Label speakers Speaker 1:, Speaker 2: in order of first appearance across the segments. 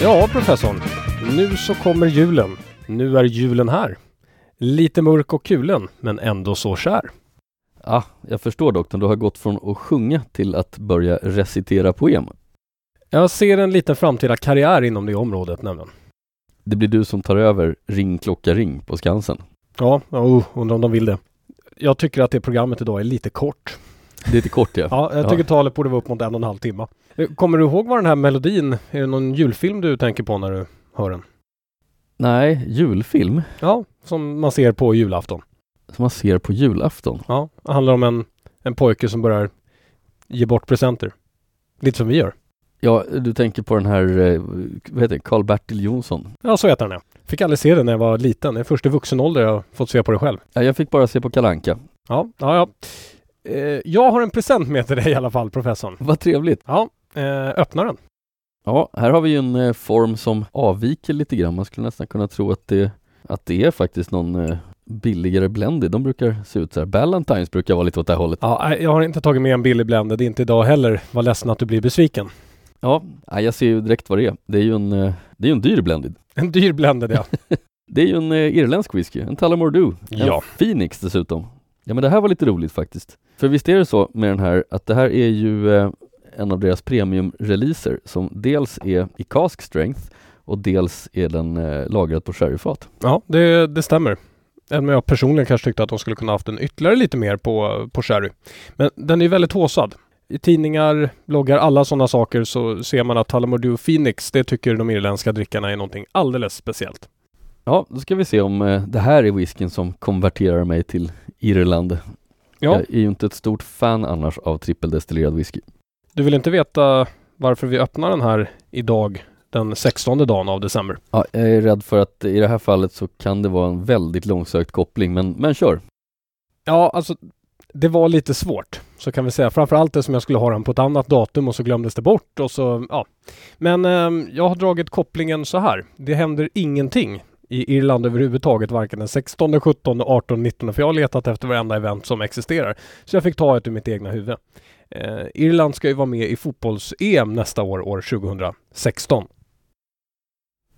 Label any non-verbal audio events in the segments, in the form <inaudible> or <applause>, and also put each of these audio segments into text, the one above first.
Speaker 1: Ja, professorn. Nu så kommer julen. Nu är julen här. Lite mörk och kulen, men ändå så kär.
Speaker 2: Ah, jag förstår doktorn, du har gått från att sjunga till att börja recitera poem.
Speaker 1: Jag ser en liten framtida karriär inom det området nämligen.
Speaker 2: Det blir du som tar över Ring klocka ring på Skansen.
Speaker 1: Ja, oh, undrar om de vill det. Jag tycker att det programmet idag är lite kort.
Speaker 2: Det är lite kort ja.
Speaker 1: <laughs> Ja, jag tycker talet borde vara upp mot en och en halv timme. Eh, Kommer du ihåg vad den här melodin, är det någon julfilm du tänker på när du hör den?
Speaker 2: Nej, julfilm
Speaker 1: Ja, som man ser på julafton.
Speaker 2: som man ser på julafton.
Speaker 1: Ja, det handlar om en, en pojke som börjar ge bort presenter. Lite som vi gör.
Speaker 2: Ja, du tänker på den här, eh, vad heter det, Karl-Bertil Jonsson.
Speaker 1: Ja, så heter den ja. Fick aldrig se den när jag var liten. Det är först i vuxen ålder jag har fått se på det själv.
Speaker 2: Ja, jag fick bara se på Kalanka.
Speaker 1: Ja, ja, ja. Eh, jag har en present med till dig i alla fall, professorn.
Speaker 2: Vad trevligt.
Speaker 1: Ja, eh, öppna den.
Speaker 2: Ja, här har vi ju en eh, form som avviker lite grann. Man skulle nästan kunna tro att det, att det är faktiskt någon eh, billigare Blendy. De brukar se ut så här. Ballantines brukar vara lite åt det här hållet.
Speaker 1: Ja, nej, jag har inte tagit med en billig blender. Det är inte idag heller. Var ledsen att du blir besviken. <laughs>
Speaker 2: Ja, nej, jag ser ju direkt vad det är. Det är ju en, eh, det är ju en dyr Blendy.
Speaker 1: En dyr blender, ja.
Speaker 2: Det är ju en eh, irländsk whisky, en Tullamore
Speaker 1: Ja.
Speaker 2: en Phoenix dessutom. Ja men det här var lite roligt faktiskt. För visst är det så med den här att det här är ju eh, en av deras premiumreleaser som dels är i cask strength och dels är den eh, lagrad på sherryfat.
Speaker 1: Ja, det, det stämmer. Även om jag personligen kanske tyckte att de skulle kunna haft en ytterligare lite mer på, på sherry. Men den är ju väldigt håsad. I tidningar, bloggar, alla sådana saker så ser man att Tullamore Phoenix, det tycker de irländska drickarna är någonting alldeles speciellt.
Speaker 2: Ja, då ska vi se om eh, det här är whiskyn som konverterar mig till Irland.
Speaker 1: Ja,
Speaker 2: Jag är ju inte ett stort fan annars av trippeldestillerad whisky.
Speaker 1: du vill inte veta varför vi öppnar den här idag, den 16 dagen av december.
Speaker 2: Ja, jag är rädd för att i det här fallet så kan det vara en väldigt långsökt koppling, men, men kör!
Speaker 1: Ja, alltså det var lite svårt, så kan vi säga. Framförallt det som jag skulle ha den på ett annat datum och så glömdes det bort och så, ja. Men ehm, jag har dragit kopplingen så här. Det händer ingenting i Irland överhuvudtaget, varken den 16, 17, 18, 19, för jag har letat efter varenda event som existerar. Så jag fick ta ett ur mitt egna huvud. Eh, Irland ska ju vara med i fotbolls-EM nästa år, år 2016.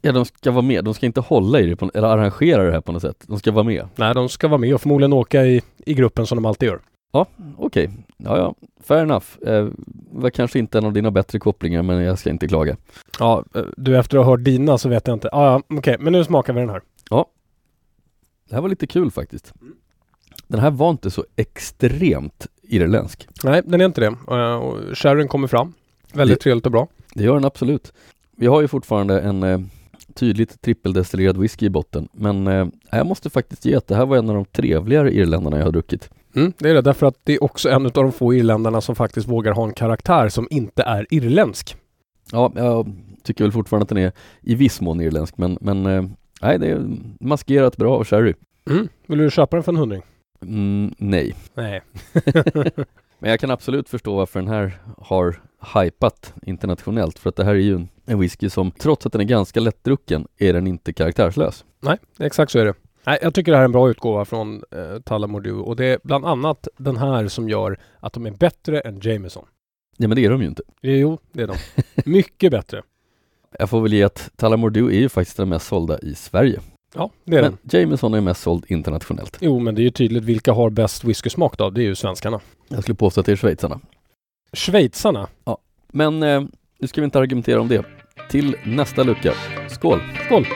Speaker 2: Ja, de ska vara med. De ska inte hålla i det på, eller arrangera det här på något sätt. De ska vara med.
Speaker 1: Nej, de ska vara med och förmodligen åka i, i gruppen som de alltid gör.
Speaker 2: Okej, ja, ja, fair enough. Eh, var kanske inte en av dina bättre kopplingar, men jag ska inte klaga.
Speaker 1: Ja, eh, du efter att ha hört dina så vet jag inte. Ah, ja, okej, men nu smakar vi den här.
Speaker 2: Det här var lite kul faktiskt. Den här var inte så extremt irländsk.
Speaker 1: Nej, den är inte det. Eh, och Sharon kommer fram. Väldigt
Speaker 2: Det-
Speaker 1: trevligt och bra.
Speaker 2: Det gör den absolut. Vi har ju fortfarande en eh, tydligt trippeldestillerad whisky i botten, men eh, jag måste faktiskt ge att det här var en av de trevligare irländarna jag har druckit.
Speaker 1: Mm, det är det, därför att det är också en av de få irländarna som faktiskt vågar ha en karaktär som inte är irländsk.
Speaker 2: Ja, jag tycker väl fortfarande att den är i viss mån irländsk, men, men eh, nej, det är maskerat bra av sherry.
Speaker 1: Mm. Vill du köpa den för en hundring?
Speaker 2: Mm, nej.
Speaker 1: <laughs> Nej.
Speaker 2: Men jag kan absolut förstå varför den här har hypat internationellt för att det här är ju en, en whisky som trots att den är ganska lättdrucken är den inte karaktärslös.
Speaker 1: Nej, exakt så är det. Nej, jag tycker det här är en bra utgåva från eh, Tullamore Dew och det är bland annat den här som gör att de är bättre än Jameson.
Speaker 2: Ja men det är de ju inte.
Speaker 1: Jo, det är de. Mycket bättre.
Speaker 2: Jag får väl ge att Tullamore Dew är ju faktiskt den mest sålda i Sverige.
Speaker 1: Ja, det är den.
Speaker 2: Men Jameson är mest såld internationellt.
Speaker 1: Jo, men det är ju tydligt vilka har bäst whiskysmak då? Det är ju svenskarna.
Speaker 2: Jag skulle påstå att det är schweizarna.
Speaker 1: Schweizarna.
Speaker 2: Men eh, nu ska vi inte argumentera om det. Till nästa lucka. Skål!
Speaker 1: Skål!